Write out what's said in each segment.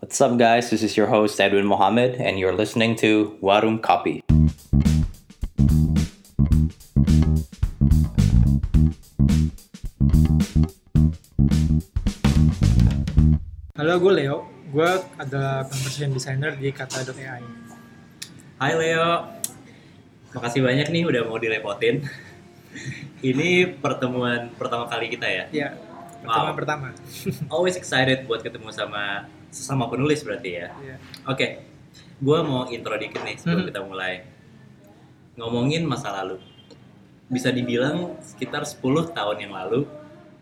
What's up, guys? This is your host, Edwin Mohammed, and you're listening to Warung Kopi. Halo, gue Leo. Gue adalah conversion designer di Kata.ai. Hai Leo, makasih banyak nih udah mau direpotin. Ini pertemuan pertama kali kita ya. Ya, pertama Wow. pertama. Always excited buat ketemu sama sesama penulis berarti ya. Ya. Oke, gua mau intro dikit nih sebelum Mhm. kita mulai. Ngomongin masa lalu. Bisa dibilang sekitar 10 tahun yang lalu,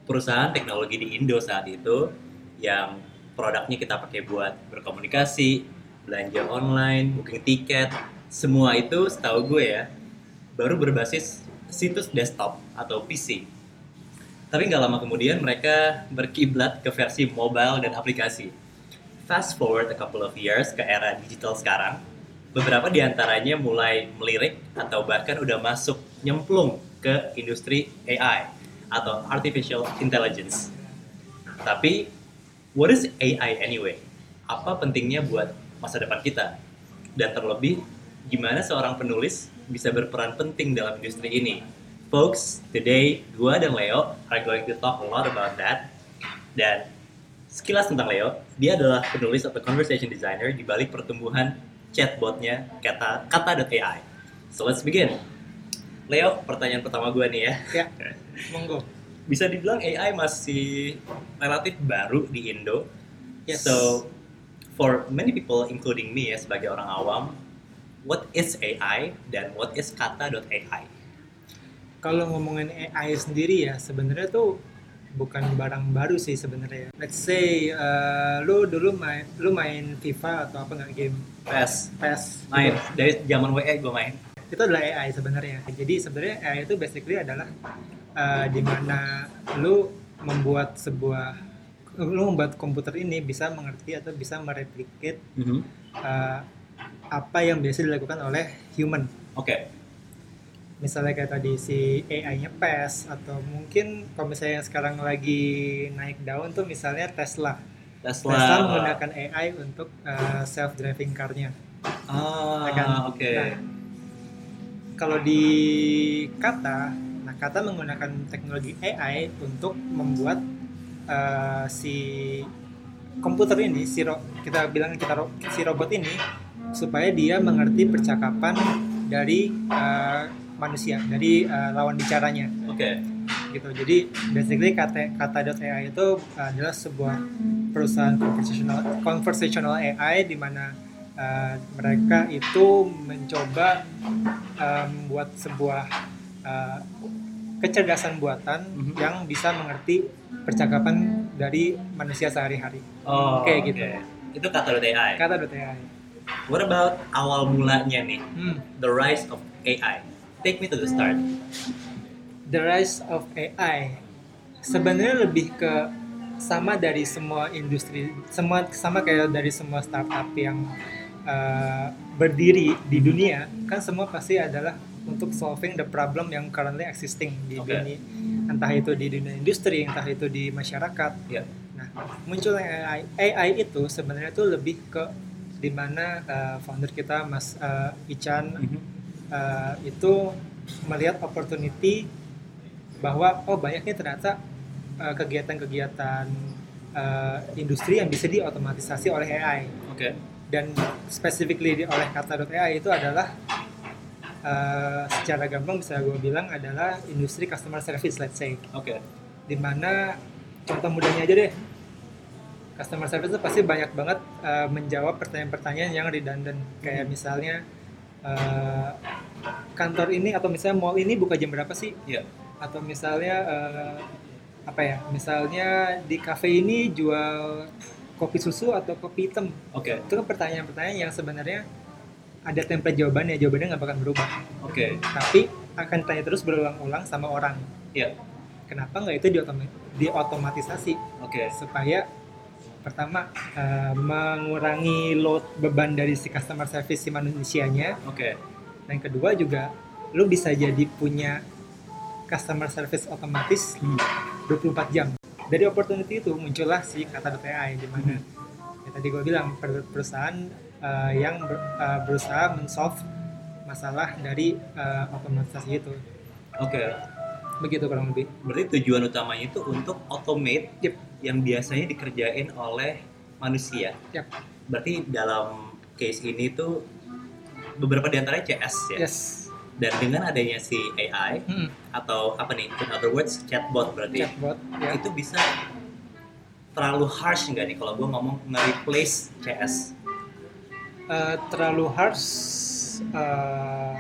perusahaan teknologi di Indo saat itu yang produknya kita pakai buat berkomunikasi, belanja online, booking tiket, semua itu setahu gue ya, baru berbasis situs desktop atau PC. Tapi nggak lama kemudian mereka berkiblat ke versi mobile dan aplikasi fast forward a couple of years ke era digital sekarang, beberapa di antaranya mulai melirik atau bahkan udah masuk nyemplung ke industri AI atau artificial intelligence. Tapi what is AI anyway? Apa pentingnya buat masa depan kita? Dan terlebih gimana seorang penulis bisa berperan penting dalam industri ini? Folks, today gua dan Leo are going to talk a lot about that. Dan Sekilas tentang Leo, dia adalah penulis atau conversation designer di balik pertumbuhan chatbotnya kata kata.ai. So let's begin. Leo, pertanyaan pertama gue nih ya. Ya, monggo. Bisa dibilang AI masih relatif baru di Indo. Yes. So for many people including me ya sebagai orang awam, what is AI dan what is kata.ai? Kalau ngomongin AI sendiri ya, sebenarnya tuh bukan barang baru sih sebenarnya. Let's say eh, lu dulu main lu main FIFA atau apa nggak game PS PES. gitu. main dari zaman WE gue main. itu adalah AI sebenarnya. Jadi sebenarnya AI itu basically adalah uh, di mana lu membuat sebuah lu membuat komputer ini bisa mengerti atau bisa mereplicate uh, apa yang biasa dilakukan oleh human. Oke. Misalnya kayak tadi si AI-nya PES atau mungkin kalau misalnya yang sekarang lagi naik daun tuh misalnya Tesla. Tesla. Tesla menggunakan AI untuk uh, self driving car-nya. Ah, Ya kan? oke. Nah, kalau di kata, nah kata menggunakan teknologi AI untuk membuat eh, si komputer ini, si ro- kita bilang kita ro- si robot ini supaya dia mengerti percakapan dari eh, manusia, dari eh, lawan bicaranya Oke. gitu. Jadi basically kata kata.ai itu adalah sebuah perusahaan conversational conversational AI di mana uh, mereka itu mencoba uh, membuat sebuah uh, kecerdasan buatan Mhm. yang bisa mengerti percakapan dari manusia sehari-hari. Oh, Kayak gitu. Itu kata AI. Kata.ai. E. What about awal mulanya nih? Hmm. The rise of AI. Take me to the start. The rise of AI sebenarnya lebih ke sama dari semua industri, semua sama kayak dari semua startup yang uh, berdiri di Hmm. dunia, kan semua pasti adalah untuk solving the problem yang currently existing di Oke. dunia, entah itu di dunia industri, entah itu di masyarakat. Ya. Nah, munculnya AI, AI itu sebenarnya tuh lebih ke dimana uh, founder kita Mas uh, Ican Hmm. eh, itu melihat opportunity bahwa oh banyaknya ternyata eh, kegiatan-kegiatan eh, industri yang bisa diotomatisasi oleh AI Oke. dan specifically di- oleh kata.ai itu adalah eh, secara gampang bisa gue bilang adalah industri customer service let's say Oke. dimana contoh mudahnya aja deh customer service itu pasti banyak banget eh, menjawab pertanyaan-pertanyaan yang redundant kayak misalnya eh, kantor ini atau misalnya mall ini buka jam berapa sih Iya. atau misalnya eh, apa ya misalnya di cafe ini jual kopi susu atau kopi hitam Oke. itu kan pertanyaan-pertanyaan yang sebenarnya ada template jawabannya jawabannya nggak bakal berubah Oke. tapi akan tanya terus berulang-ulang sama orang. Iya. Kenapa nggak itu diotoma- diotomatisasi Oke. supaya pertama eh, mengurangi load beban dari si customer service si manusianya Oke. dan Nah, kedua juga lu bisa jadi punya customer service otomatis Hmm. 24 jam. Dari opportunity itu muncullah si kata.ai di mana ya tadi gue bilang per- perusahaan eh, yang ber- eh, berusaha men-solve masalah dari eh, otomatisasi itu Oke, begitu kurang lebih berarti tujuan utamanya itu untuk automate Yep. yang biasanya dikerjain oleh manusia. Yep. Berarti dalam case ini tuh beberapa di antaranya CS ya. yes Dan dengan adanya si AI Mm-mm. atau apa nih, in other words chatbot berarti chatbot ya itu bisa terlalu harsh nggak nih kalau gue ngomong nge-replace CS? Eh, terlalu harsh eh,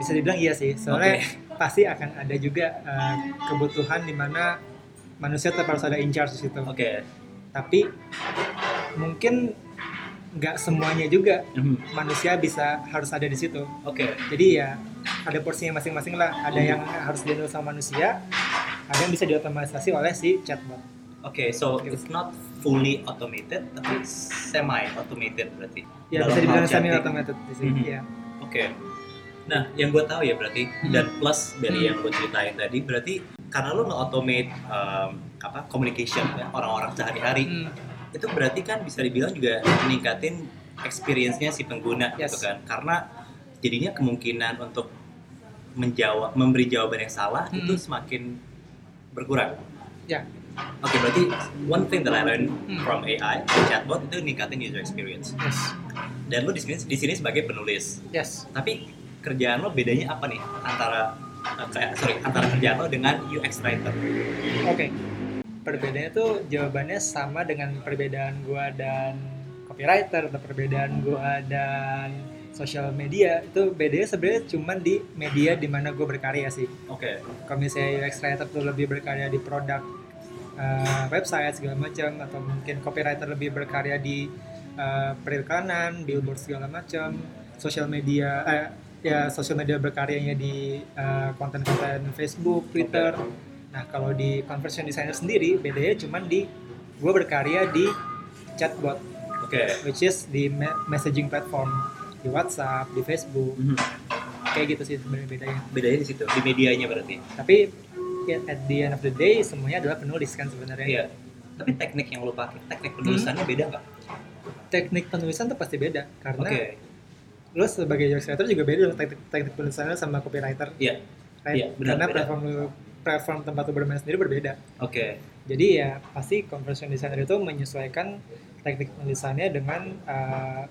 bisa dibilang iya sih soalnya Oke. pasti akan ada juga eh, kebutuhan di mana manusia tetap harus ada in charge di situ Oke. tapi mungkin nggak semuanya juga Mhm. manusia bisa harus ada di situ Oke. jadi ya ada porsinya masing-masing lah ada Iya. yang harus dihandle sama manusia ada yang bisa diotomatisasi oleh si chatbot Oke, so it's not fully automated tapi semi automated berarti. ya bisa Dalam hal dibilang chatting. semi automated di sini Mhm. ya Oke. Nah, yang gue tahu ya berarti Hmm. dan plus dari Hmm. yang lo ceritain tadi berarti karena lo nge-automate um, apa communication ya, orang-orang sehari-hari Hmm, itu berarti kan bisa dibilang juga meningkatin experience-nya si pengguna gitu Yes. kan karena jadinya kemungkinan untuk menjawab memberi jawaban yang salah Hmm. itu semakin berkurang. Ya. Oke, berarti one thing that I learned Hmm. from AI chatbot itu meningkatin user experience. yes Dan lo di sini di sini sebagai penulis yes tapi kerjaan lo bedanya apa nih antara eh, kayak- sorry antara kerjaan lo dengan UX writer oke perbedaannya tuh jawabannya sama dengan perbedaan gua dan copywriter atau perbedaan gua dan social media itu bedanya sebenarnya cuman di media di mana gue berkarya sih oke kalau misalnya UX writer tuh lebih berkarya di produk eh, website segala macam atau mungkin copywriter lebih berkarya di eh, periklanan, billboard segala macam, social media eh, ya social media berkaryanya di eh, konten-konten Facebook, Twitter. Nah, kalau di conversion designer sendiri bedanya cuman di gue berkarya di chatbot oke which is di me- messaging platform di WhatsApp, di Facebook, Mhm. kayak gitu sih sebenarnya bedanya bedanya di situ di medianya berarti tapi ya, at the end of the day semuanya adalah penulis kan sebenarnya iya tapi teknik yang lo pakai teknik penulisannya beda nggak teknik penulisan tuh pasti beda oke karena lo sebagai UX writer juga beda dong teknik, teknik penulisan lo sama copywriter Iya. Right? Iya, benar, karena beda. platform lo platform tempat lo bermain sendiri berbeda oke jadi ya pasti conversion designer itu menyesuaikan teknik penulisannya dengan eh,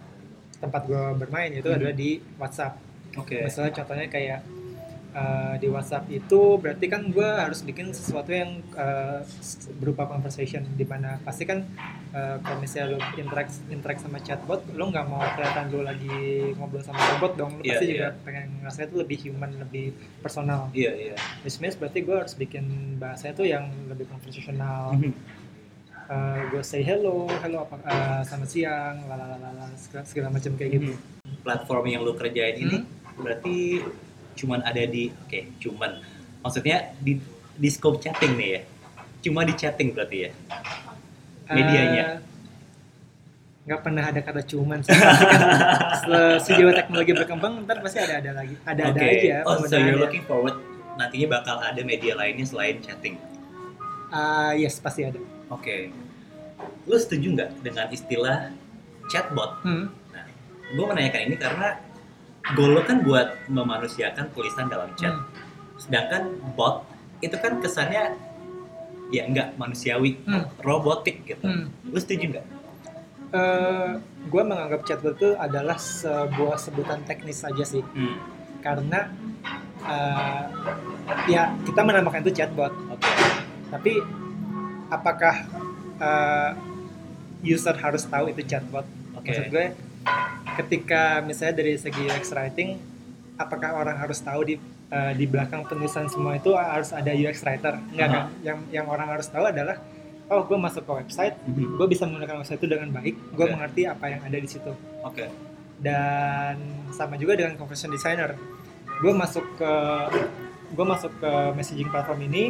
tempat gue bermain yaitu Mhm. adalah di WhatsApp oke misalnya contohnya kayak eh, di WhatsApp itu berarti kan gue harus bikin sesuatu yang eh, s- berupa conversation di mana pasti kan eh, kalau misalnya lo interact interact sama chatbot lo nggak mau kelihatan lo lagi ngobrol sama robot dong lo Iya, pasti iya. juga pengen ngerasa itu lebih human lebih personal iya iya which means berarti gue harus bikin bahasa itu yang lebih konversasional Mhm. gue say hello hello apa eh, selamat siang lalalala segala, segala macam kayak gitu platform yang lo kerjain ini Hmm. berarti cuman ada di oke cuman maksudnya di di scope chatting nih ya cuma di chatting berarti ya Medianya. Eh, nggak pernah ada kata cuman sih. Pasti kan se- sejauh teknologi berkembang ntar pasti ada ada lagi ada ada Oke. aja oh so penggunaan you're ya. looking forward nantinya bakal ada media lainnya selain chatting Ah, yes pasti ada Oke. Lu setuju nggak dengan istilah chatbot? hmm. Gue menanyakan ini karena goal lo kan buat memanusiakan tulisan dalam chat. Hmm. Sedangkan bot itu kan kesannya ya nggak manusiawi, Hmm. robotik gitu. Lu setuju nggak? gue Eh, menganggap chatbot itu adalah sebuah sebutan teknis saja sih karena eh, ya kita menamakan itu chatbot Oke. tapi apakah eh, user harus tahu itu chatbot Oke. Maksud gue ketika misalnya dari segi UX writing apakah orang harus tahu di eh, di belakang penulisan semua itu harus ada UX writer? Enggak kan? Yang yang orang harus tahu adalah oh gue masuk ke website, Mhm. gue bisa menggunakan website itu dengan baik, gue Oke. mengerti apa yang ada di situ. Oke. Dan sama juga dengan conversion designer. Gue masuk ke gue masuk ke messaging platform ini,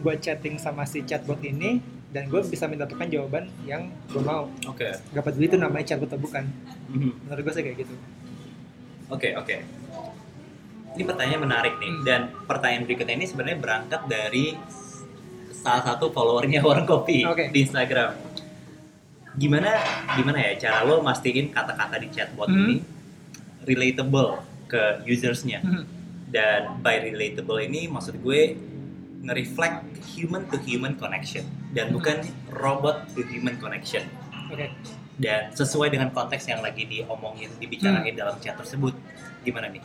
gue chatting sama si chatbot ini dan gue bisa mendapatkan jawaban yang gue mau. Oke. Gak peduli itu namanya chatbot atau bukan Mhm. menurut gue sih kayak gitu Oke, oke. Ini pertanyaan menarik nih. Hmm. Dan pertanyaan berikutnya ini sebenarnya berangkat dari salah satu followernya Warung Kopi Oke. di Instagram. gimana gimana ya cara lo mastiin kata-kata di chatbot Hmm. ini relatable ke usersnya Hmm. dan by relatable ini maksud gue nge-reflect human to human connection dan Hmm. bukan robot to human connection Oke. dan sesuai dengan konteks yang lagi diomongin dibicarain Hmm. dalam chat tersebut gimana nih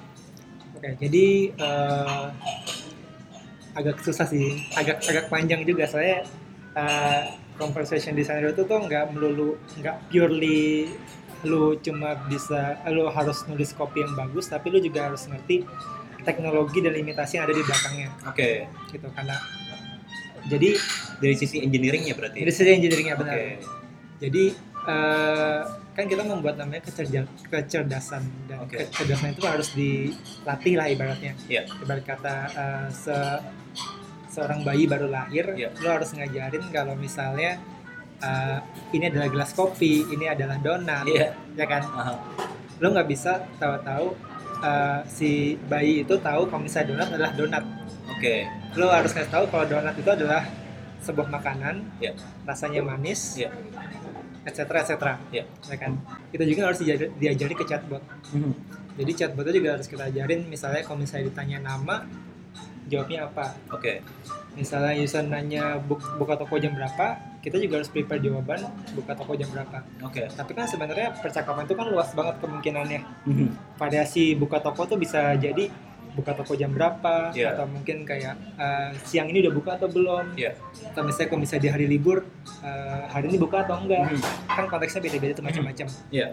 Oke, jadi eh, agak susah sih, agak agak panjang juga soalnya eh, conversation designer itu tuh nggak melulu, nggak purely lu cuma bisa, lu harus nulis copy yang bagus, tapi lu juga harus ngerti teknologi dan limitasi yang ada di belakangnya oke gitu karena jadi dari sisi engineeringnya berarti dari sisi engineeringnya oke benar jadi eh, kan kita membuat namanya kecerja- kecerdasan dan Oke. kecerdasan itu harus dilatih lah ibaratnya Iya. ibarat kata eh, se- seorang bayi baru lahir Iya. lo harus ngajarin kalau misalnya eh, ini adalah gelas kopi ini adalah donat iya ya kan Aha. lo nggak bisa tahu-tahu eh, si bayi itu tahu kalau misalnya donat adalah donat oke lo harus ngasih tahu kalau donat itu adalah sebuah makanan Iya. rasanya manis Iya. etc etc Iya. ya kan itu juga harus diajar- diajari ke chatbot Hmm. jadi chatbotnya juga harus kita ajarin misalnya kalau misalnya ditanya nama jawabnya apa oke misalnya user nanya "Buk- buka toko jam berapa kita juga harus prepare jawaban buka toko jam berapa oke tapi kan sebenarnya percakapan itu kan luas banget kemungkinannya Hmm. variasi buka toko tuh bisa jadi buka toko jam berapa Iya. atau mungkin kayak eh, siang ini udah buka atau belum Iya. atau misalnya kalau misalnya di hari libur eh, hari ini buka atau enggak Hmm. kan konteksnya beda-beda tuh macam-macam Iya.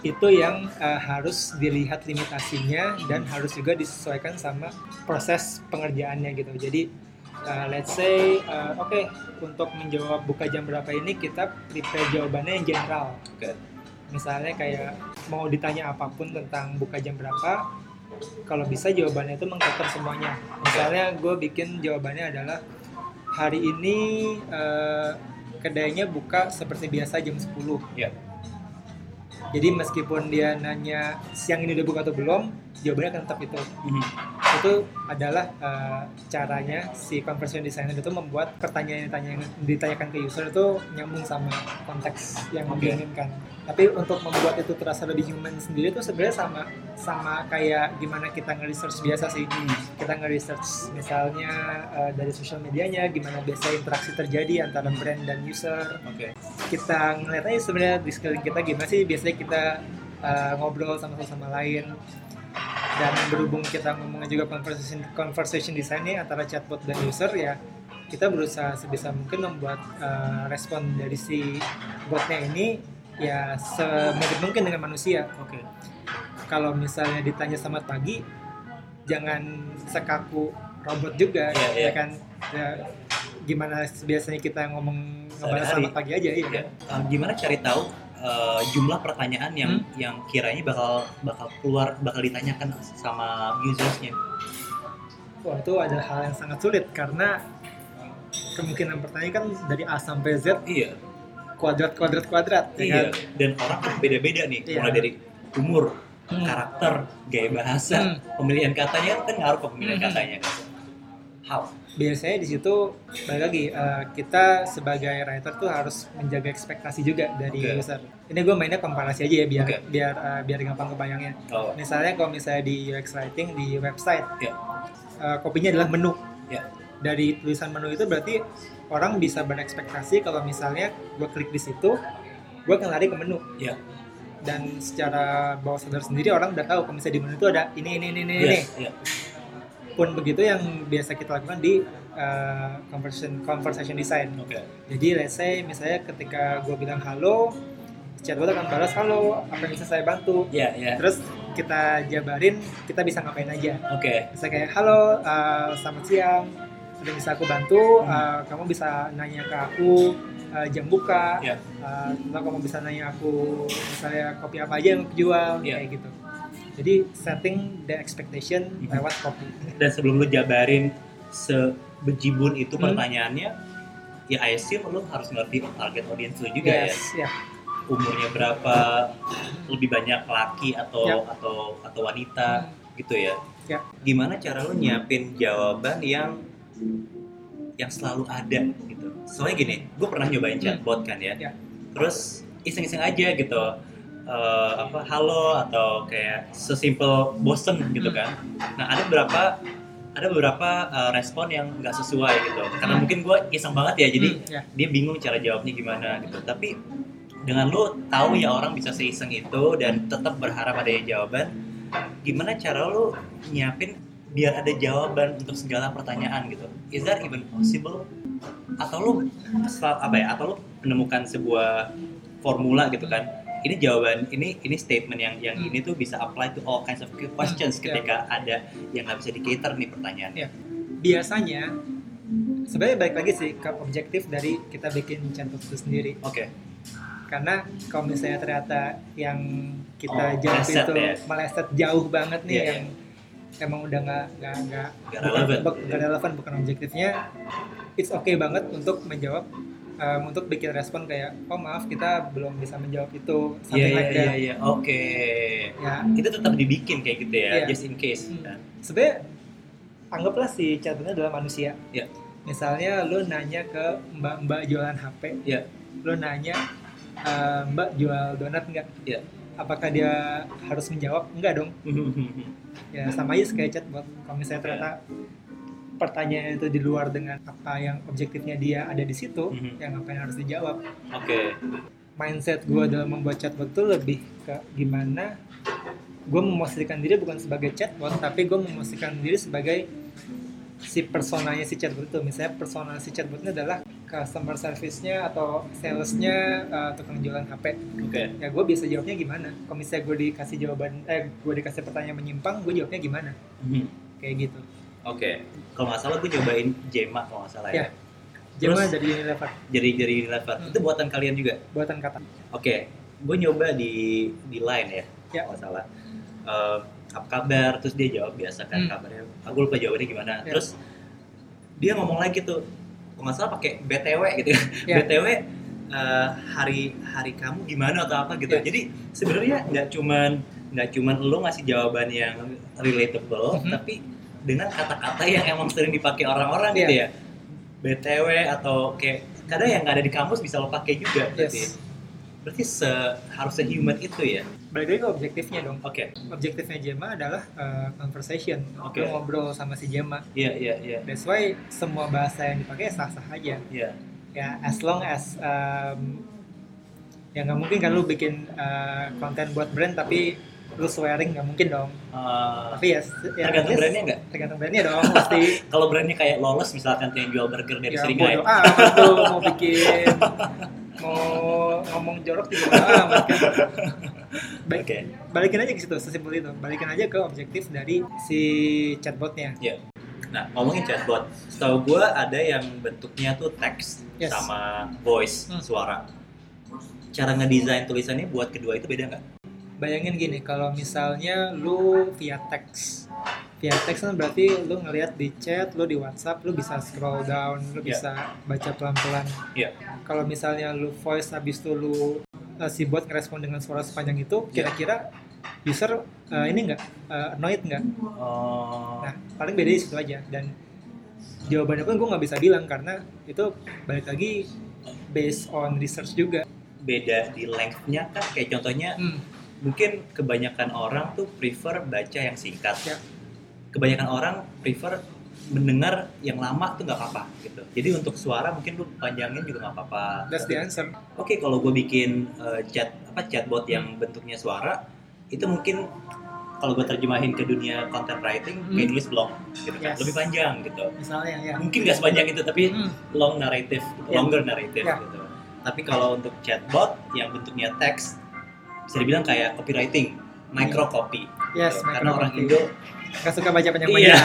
itu yang eh, harus dilihat limitasinya dan Hmm. harus juga disesuaikan sama proses pengerjaannya gitu jadi eh, let's say eh, oke untuk menjawab buka jam berapa ini kita prepare jawabannya yang general Oke. misalnya kayak mau ditanya apapun tentang buka jam berapa kalau bisa jawabannya itu mengcover semuanya misalnya gue bikin jawabannya adalah hari ini eh, kedainya buka seperti biasa jam 10 Iya. jadi meskipun dia nanya siang ini udah buka atau belum jawabannya akan tetap itu Hmm. itu adalah eh, caranya si conversion designer itu membuat pertanyaan yang ditanya- ditanyakan ke user itu nyambung sama konteks yang Oke. diinginkan. Tapi untuk membuat itu terasa lebih human sendiri itu sebenarnya sama sama kayak gimana kita nge-research biasa sih. Hmm. Mhm. Kita nge-research misalnya eh, dari social medianya gimana biasa interaksi terjadi antara brand dan user. oke Kita ngeliat aja sebenarnya di sekeliling kita gimana sih biasanya kita eh, ngobrol sama satu sama lain dan berhubung kita ngomongin juga conversation conversation design nih antara chatbot dan user ya kita berusaha sebisa mungkin membuat eh, respon dari si botnya ini ya semungkin mungkin dengan manusia oke kalau misalnya ditanya selamat pagi jangan sekaku robot juga Iya, iya. ya kan Ya, gimana biasanya kita ngomong ngebalas Sehari-hari. selamat pagi aja ya Oke. Uh, gimana cari tahu uh, jumlah pertanyaan yang Mhm. yang kiranya bakal bakal keluar bakal ditanyakan sama usersnya? Wah, itu adalah hal yang sangat sulit karena kemungkinan pertanyaan kan dari A sampai Z Iya, kuadrat kuadrat kuadrat iya. ya kan? Dan orang kan beda-beda nih, Iya. mulai dari umur, Hmm. karakter, gaya bahasa, Hmm. pemilihan katanya kan ngaruh ke pemilihan Hmm. katanya kan. How? biasanya di situ balik lagi eh, kita sebagai writer tuh harus menjaga ekspektasi juga dari Oke. user ini gue mainnya komparasi aja ya biar Oke. biar eh, biar gampang kebayangnya Oh, misalnya kalau misalnya di UX writing di website Iya. eh, kopinya adalah menu Iya. dari tulisan menu itu berarti orang bisa berekspektasi kalau misalnya gue klik di situ gue akan lari ke menu Iya. dan secara bawah sadar sendiri orang udah tahu kalau misalnya di menu itu ada ini ini ini ini, ini yes, iya. pun begitu yang biasa kita lakukan di eh, conversation conversation design Oke. jadi let's say misalnya ketika gue bilang halo chatbot akan balas halo apa yang bisa saya bantu Iya, iya. terus kita jabarin kita bisa ngapain aja Oke. bisa kayak halo uh, selamat siang ada yang bisa aku bantu Hmm. Uh, kamu bisa nanya ke aku uh, jam buka Iya. Uh, atau kamu bisa nanya aku misalnya kopi apa aja yang aku jual Iya. kayak gitu jadi setting the expectation Mhm. lewat kopi Dan sebelum lu jabarin sebejibun itu Hmm. pertanyaannya, ya I assume lu harus ngerti target audience lu juga ya. yes ya umurnya berapa lebih banyak laki atau Ya. atau atau wanita gitu ya. Ya. Gimana cara lu nyiapin jawaban yang yang selalu ada gitu. Soalnya gini, gue pernah nyobain chatbot kan ya. Hmm. Ya. terus iseng-iseng aja gitu eh, apa halo atau kayak sesimpel bosen gitu kan Hmm. nah ada beberapa ada beberapa eh, respon yang nggak sesuai gitu karena mungkin gue iseng banget ya jadi Hmm, ya. dia bingung cara jawabnya gimana gitu tapi dengan lu tahu ya orang bisa seiseng itu dan tetap berharap ada jawaban gimana cara lu nyiapin biar ada jawaban untuk segala pertanyaan gitu is that even possible atau lu sel- apa ya atau lu menemukan sebuah formula gitu kan ini jawaban ini ini statement yang yang ini tuh bisa apply to all kinds of questions Hmm, ya. ketika ada yang nggak bisa di cater nih pertanyaan biasanya sebenarnya balik lagi sih ke objektif dari kita bikin cantum itu sendiri oke karena kalau misalnya ternyata yang kita Oh, jawab meleset itu ya. meleset jauh banget nih Iya, yang emang udah nggak nggak nggak Nggak bukan- relevan. buk- nggak relevan bukan objektifnya it's okay banget untuk menjawab um, untuk bikin respon kayak oh maaf kita belum bisa menjawab itu something iya iya like iya that iya. oke ya itu tetap dibikin kayak gitu ya, Iya. just in case. Hmm. Nah, sebenarnya anggaplah si chatbotnya adalah manusia. Iya. Misalnya lo nanya ke mbak-mbak jualan HP, Iya. lo nanya "Eh, mbak jual donat nggak? Iya. Apakah dia harus menjawab? Enggak dong. Ya sama aja kayak chatbot. Kalau misalnya ternyata pertanyaan itu di luar dengan apa yang objektifnya dia ada di situ, Mhm. yang ngapain harus dijawab. Oke, Mindset gue dalam membuat chatbot itu lebih ke gimana gue memastikan diri bukan sebagai chatbot, tapi gue memastikan diri sebagai si personanya si chatbot itu misalnya persona si chatbotnya adalah customer service-nya atau salesnya uh, tukang jualan HP oke, ya gue bisa jawabnya gimana kalau misalnya gue dikasih jawaban eh gue dikasih pertanyaan menyimpang gue jawabnya gimana Mhm. kayak gitu oke. Kalau nggak salah gue nyobain Jema kalau nggak salah ya. Jema Terus- dari Unilever Jari-jari Unilever. Iya. Hmm. Itu buatan kalian juga. buatan kata Oke, gue nyoba di di Line ya, Ya. kalau nggak salah. Eh, apa kabar? Terus dia jawab biasa kan Hmm. kabarnya. Aku lupa jawabannya gimana. Ya. Terus dia ngomong lagi tuh, kalau nggak salah pakai btw gitu ya. Ya. btw eh, hari hari kamu gimana atau apa gitu. Ya. Jadi sebenarnya nggak cuman nggak cuman lo ngasih jawaban yang relatable, Mhm. tapi dengan kata-kata yang emang sering dipakai orang-orang Ya. gitu ya. btw atau kayak kadang yang nggak ada di kampus bisa lo pakai juga berarti. yes Berarti se- harus sehuman itu ya? balik lagi ke objektifnya Iya dong Oke, objektifnya Jema adalah uh, conversation Oke. Lo ngobrol sama si Jema iya iya iya that's why semua bahasa yang dipakai sah-sah aja iya. ya as long as um, ya nggak mungkin kan lu bikin uh, konten buat brand tapi lu swearing nggak mungkin dong Eh, tapi ya, s- ya tergantung at least- brandnya nggak? tergantung brandnya dong pasti Kalau brandnya kayak Lawless misalkan tuh yang jual burger dari ya Seringai. bodo amat lu mau bikin mau ngomong jorok juga bodo amat kan Oke, Baik, balikin aja ke situ sesimpel itu balikin aja ke objektif dari si chatbotnya nah ngomongin chatbot, setahu gue ada yang bentuknya tuh teks Yes. sama voice Hmm. suara. Cara ngedesain tulisannya buat kedua itu beda nggak? bayangin gini kalau misalnya lu via teks via teks kan berarti lu ngelihat di chat lu di WhatsApp lu bisa scroll down lu Iya. bisa baca pelan-pelan Iya. kalau misalnya lu voice habis itu lu eh, si bot ngerespon dengan suara sepanjang itu Iya. kira-kira user eh, ini enggak annoyed nggak Oh, nah paling beda di situ aja dan jawabannya pun gue nggak bisa bilang karena itu balik lagi based on research juga beda di length-nya kan kayak contohnya Hmm, mungkin kebanyakan orang tuh prefer baca yang singkat. Ya. Kebanyakan orang prefer mendengar yang lama tuh nggak apa-apa gitu. Jadi untuk suara mungkin lu panjangin juga nggak apa-apa. that's the answer Oke, kalau gue bikin eh, chat apa chatbot yang bentuknya suara, itu mungkin kalau gue terjemahin ke dunia content writing, Hmm. kayak nulis blog gitu kan, Yes. lebih panjang gitu. misalnya ya Mungkin nggak sepanjang itu, tapi Hmm, long narrative, gitu, Ya. longer narrative Ya. gitu. Tapi kalau untuk chatbot yang bentuknya teks, bisa dibilang kayak copywriting, micro copy. yes gitu. Karena orang Iya. microcopy. Indo, Gak suka baca panjang-panjang. Iya.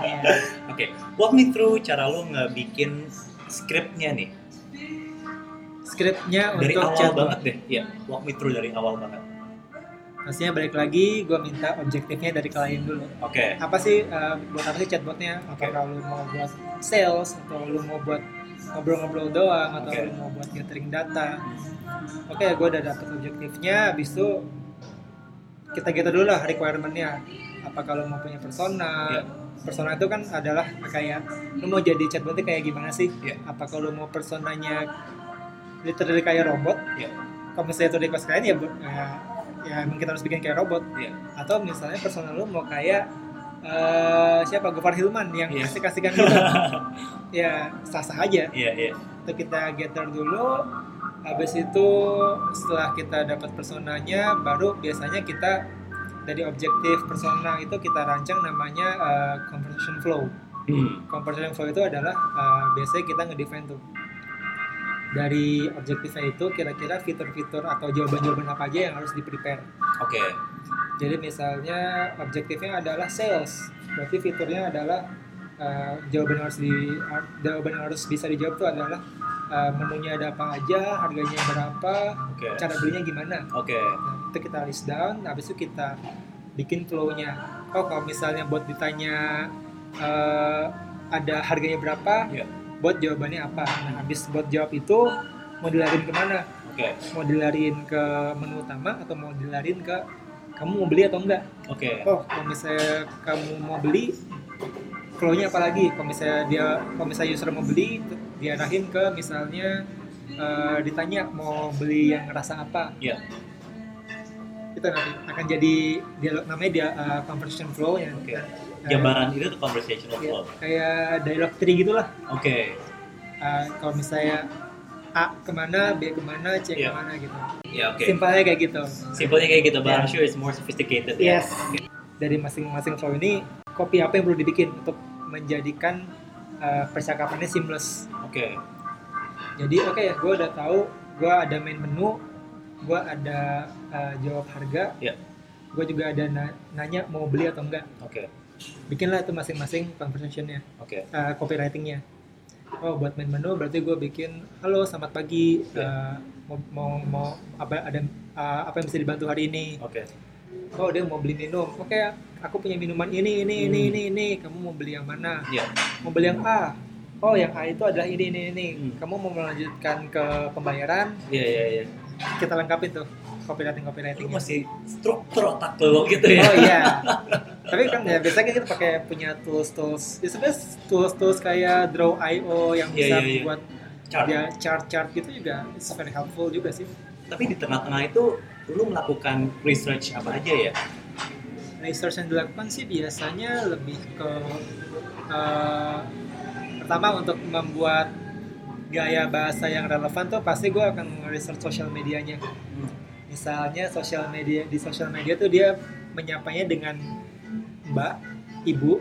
Iya. oke, walk me through cara lo ngebikin scriptnya nih Skripnya dari untuk awal chat. banget deh. Iya, walk me through dari awal banget. Maksudnya balik lagi, gue minta objektifnya dari klien dulu. Oke, Apa sih eh, buat apa sih chatbotnya? Apakah lu mau buat sales atau lu mau buat ngobrol-ngobrol doang atau Oke. lu mau buat gathering data? Oke, gue udah dapet objektifnya. Abis itu kita gitu dulu lah requirementnya. Apakah lu mau punya persona? Iya. Persona itu kan adalah kayak lu mau jadi chatbotnya kayak gimana sih? Iya. Apakah lu mau personanya literally kayak robot Iya. kalau misalnya itu request kalian ya bu- ya, ya emang kita harus bikin kayak robot Iya. atau misalnya personal lu mau kayak eh, siapa Gofar Hilman yang Iya. asik-asikan gitu ya sah-sah aja Iya, iya. itu kita gather dulu habis itu setelah kita dapat personanya baru biasanya kita dari objektif persona itu kita rancang namanya eh, conversation flow Hmm. conversation flow itu adalah eh, biasanya kita ngedefine tuh dari objektifnya itu kira-kira fitur-fitur atau jawaban-jawaban apa aja yang harus di-prepare Oke. jadi misalnya objektifnya adalah sales, berarti fiturnya adalah eh, jawaban yang harus di har- jawaban yang harus bisa dijawab itu adalah eh, menunya ada apa aja, harganya berapa, Oke. cara belinya gimana. Oke. Nah, itu kita list down, habis itu kita bikin flow-nya. Oh, kalau misalnya buat ditanya eh, ada harganya berapa, Iya. buat jawabannya apa. Nah, habis buat jawab itu mau dilarin kemana? Oke. Mau dilarin ke menu utama atau mau dilarin ke kamu mau beli atau enggak? Oke. oh kalau misalnya kamu mau beli flow-nya apa lagi kalau misalnya dia kalau misalnya user mau beli diarahin ke misalnya eh, ditanya mau beli yang rasa apa Iya. itu nanti akan jadi dialog namanya dia eh, conversation flow ya Oke. Jabaran itu tuh Iya, conversational flow. kayak dialog tree gitulah Oke. Eh, kalau misalnya A kemana B kemana C Iya. kemana gitu Ya oke. simpelnya kayak gitu Simpelnya kayak gitu, but Iya. I'm sure it's more sophisticated. ya. Yes. Dari masing-masing flow ini, kopi apa yang perlu dibikin untuk menjadikan uh, percakapannya seamless. Oke. Jadi oke ya, gue udah tahu, gue ada main menu, gue ada uh, jawab harga, Iya. gue juga ada na- nanya mau beli atau enggak. Oke. Bikinlah itu masing-masing conversationnya, Oke. uh, copywritingnya. Oh buat main menu berarti gue bikin halo selamat pagi uh, mau, mau mau apa ada uh, apa yang bisa dibantu hari ini Oke. oh dia mau beli minum oke aku punya minuman ini ini ini Hmm. ini ini kamu mau beli yang mana Iya. mau beli yang A oh yang A itu adalah ini ini ini Hmm. kamu mau melanjutkan ke pembayaran Iya iya iya. kita lengkapin tuh copywriting copywriting Lu masih struktur otak lo gitu ya. oh iya tapi kan ya biasanya kita pakai punya tools tools ya sebenarnya tools tools kayak draw io yang Iya, bisa iya, iya. buat Chart. dia chart chart gitu juga it's very helpful juga sih Tapi di tengah-tengah itu lu melakukan research apa aja ya? research yang dilakukan sih biasanya lebih ke eh, pertama untuk membuat gaya bahasa yang relevan tuh pasti gue akan research sosial medianya misalnya sosial media di sosial media tuh dia menyapanya dengan mbak ibu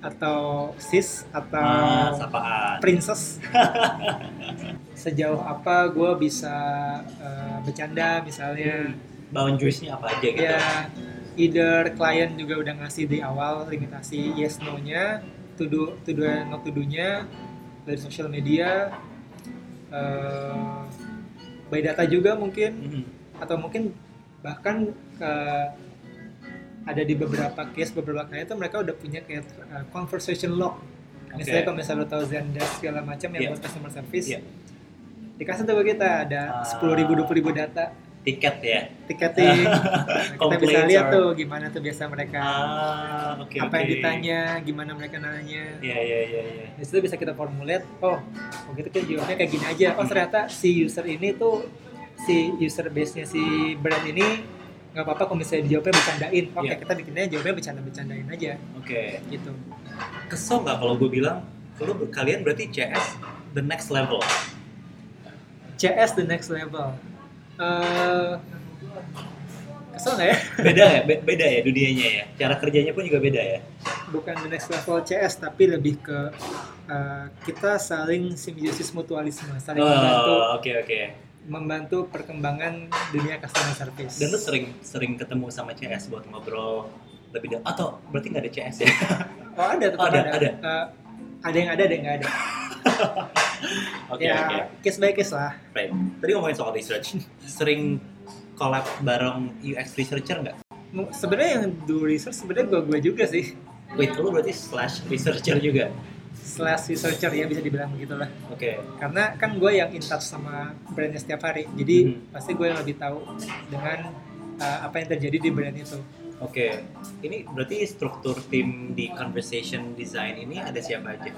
atau sis atau Ah, sapaan. princess sejauh apa gue bisa eh, bercanda misalnya Boundariesnya apa aja gitu? ya either klien juga udah ngasih di awal limitasi yes no nya to do to do and not to do nya dari sosial media eh, by data juga mungkin Mhm. atau mungkin bahkan eh, ada di beberapa case beberapa klien itu mereka udah punya kayak eh, conversation log Oke. misalnya kalau misalnya lo tahu Zendesk segala macam yang Iya. buat customer service Iya. dikasih tuh ke kita ada Ah. sepuluh ribu dua ribu data Tiket ya. tiketing kita bisa Complaints lihat are- tuh gimana tuh biasa mereka Ah, oke. Iya. apa yang oke. ditanya gimana mereka nanya Iya iya iya iya. di situ bisa kita formulate oh oh gitu kan jawabnya kayak gini aja Hmm. oh ternyata si user ini tuh si user base nya si brand ini nggak apa-apa kalau misalnya dijawabnya bercandain oke Iya. kita bikinnya jawabnya bercanda-bercandain aja Oke. gitu Kesel nggak kalau gue bilang lu kalian berarti CS the next level. CS the next level Eh kesel nggak ya Beda ya, Be- beda ya dunianya ya. Cara kerjanya pun juga beda ya. bukan the next level CS tapi lebih ke eh, kita saling simbiosis mutualisme saling membantu Oh, oke oke. membantu perkembangan dunia customer service. Dan lu sering sering ketemu sama CS buat ngobrol lebih dalam atau berarti nggak ada CS ya? oh ada, tetap Oh, ada, ada. ada. Eh, ada yang ada, ada yang nggak ada. Oke ya, oke. case by case lah. Right. Tadi ngomongin soal research, sering collab bareng UX researcher nggak? M- Sebenarnya yang do research sebenarnya gua gua juga sih. Wait, lu berarti slash researcher juga? Slash researcher ya bisa dibilang begitulah. Oke. Karena kan gue yang in touch sama brandnya setiap hari, jadi Mhm. pasti gue yang lebih tahu dengan eh, apa yang terjadi di brand itu. Oke, ini berarti struktur tim di conversation design ini ada siapa aja?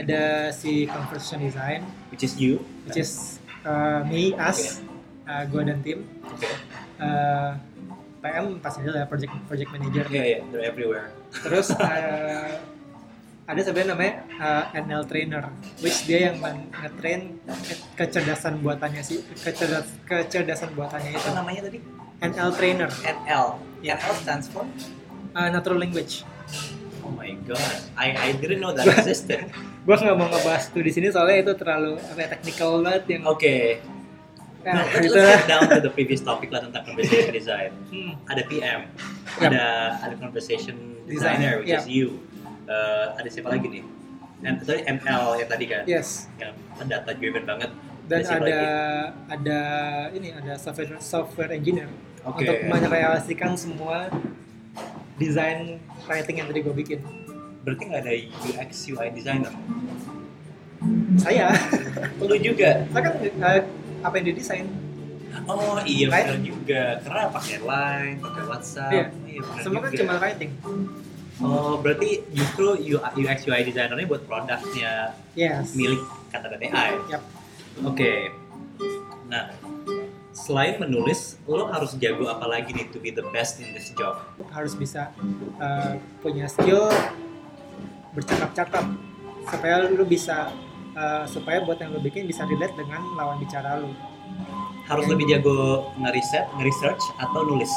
Ada si conversation design, Which is you? which is eh, Mei As, eh, gua dan tim. Oke. Eh, PM pasti lah project project manager. Iya, iya, they're everywhere. Terus eh, ada sebenarnya namanya eh, NL trainer, which dia yang men- nge-train ke- kecerdasan buatannya sih, kecerdas- kecerdasan buatannya Apa itu. namanya tadi? NL trainer, NL. Ya. NL stands for eh, natural language. Oh my god, I I didn't know that existed. Gua nggak mau ngebahas itu di sini soalnya itu terlalu apa ya, technical banget yang Oke, nah, nah, itu let's lah. get down to the previous topic lah tentang conversation design. Hmm. Ada PM, Yap. ada ada conversation Designer, designer, which is you. Uh, ada siapa lagi nih? M, sorry, ML yang tadi kan, Yes. yang data driven banget. dan Basic ada ada ini ada software software engineer Oke. untuk merealisasikan semua desain writing yang tadi gue bikin Berarti nggak ada UX UI designer. saya Perlu juga. saya kan eh, apa yang didesain Oh iya Right. benar juga. Karena pakai Line, pakai WhatsApp. Iya. Iya, benar semua kan juga. cuma writing Oh berarti justru UX UI designernya buat produknya yes milik kata dan AI. Yap. Oke. Nah, selain menulis, lo harus jago apa lagi nih to be the best in this job? harus bisa eh, punya skill bercakap-cakap supaya lu bisa eh, supaya buat yang lu bikin bisa relate dengan lawan bicara lu Harus lebih jago ngeriset, ngeresearch atau nulis?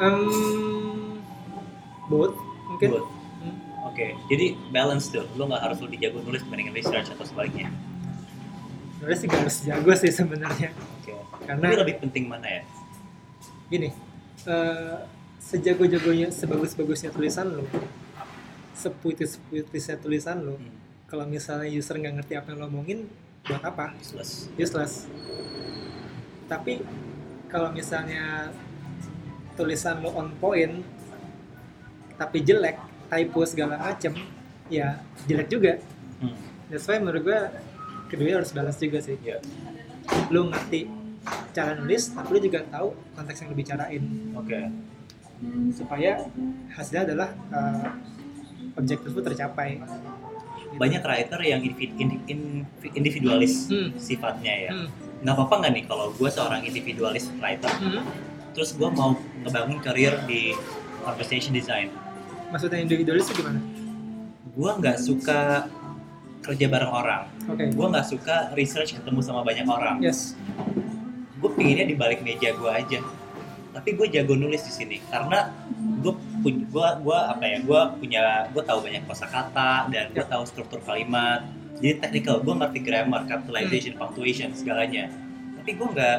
Em, both mungkin Hmm. Buat. Oke, jadi balance tuh. Lo nggak harus lebih jago nulis dibandingin research atau sebaliknya. sebenarnya sih gak harus jago sih sebenarnya Oke. karena Tapi lebih penting mana ya? gini eh sejago-jagonya sebagus-bagusnya tulisan lo sepuitis-puitisnya tulisan lo Hmm, kalau misalnya user nggak ngerti apa yang lo omongin buat apa useless. useless tapi kalau misalnya tulisan lo on point tapi jelek typo segala macem ya jelek juga Hmm. that's why menurut gue kedua harus balas juga sih Iya. lo ngerti cara nulis tapi lo juga tahu konteks yang lo bicarain Oke. supaya hasilnya adalah uh, objektif itu tercapai. Banyak writer yang individ- indi- in- individualis Hmm. sifatnya ya. Hmm. Nggak apa-apa nggak nih kalau gue seorang individualis writer? Hmm. terus gue mau ngebangun karir di conversation design Maksudnya individualis itu gimana? gue nggak suka kerja bareng orang Oke. gue nggak suka research ketemu sama banyak orang Yes. gue pinginnya di balik meja gue aja tapi gue jago nulis di sini karena gue punya gua gua apa ya gue punya gue tahu banyak kosakata dan gue tahu struktur kalimat jadi technical gue ngerti grammar capitalization punctuation segalanya tapi gue nggak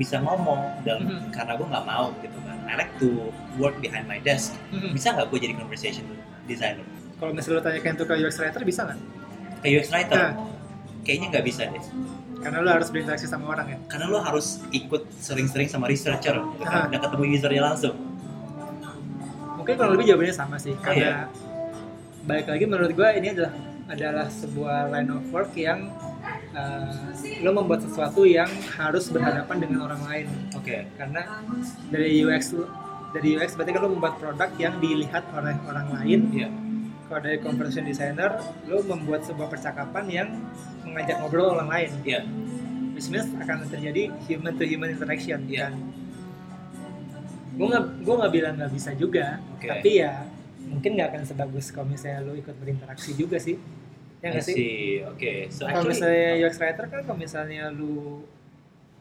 bisa ngomong dan Mhm. karena gue nggak mau gitu kan I like to work behind my desk Hmm. bisa nggak gue jadi conversation designer Kalau misalnya lo tanyakan itu ke UX writer bisa nggak? ke UX writer Nah, kayaknya nggak bisa deh karena lo harus berinteraksi sama orang ya. karena lo harus ikut sering-sering sama researcher gitu Ah. kan? dan ketemu usernya langsung Mungkin kurang lebih jawabannya sama sih. Karena balik lagi menurut gue ini adalah adalah sebuah line of work yang uh, lo membuat sesuatu yang harus berhadapan dengan orang lain. oke Karena dari UX lo- dari UX berarti kan lo membuat produk yang dilihat oleh orang lain iya kalau dari conversion designer lo membuat sebuah percakapan yang mengajak ngobrol orang lain Iya. which means akan terjadi human to human interaction Iya. gue nggak gue nggak bilang nggak bisa juga Oke. tapi ya mungkin nggak akan sebagus kalau misalnya lo ikut berinteraksi juga sih ya I nggak sih see. Oke, so kalau actually, misalnya UX writer kan kalau misalnya lo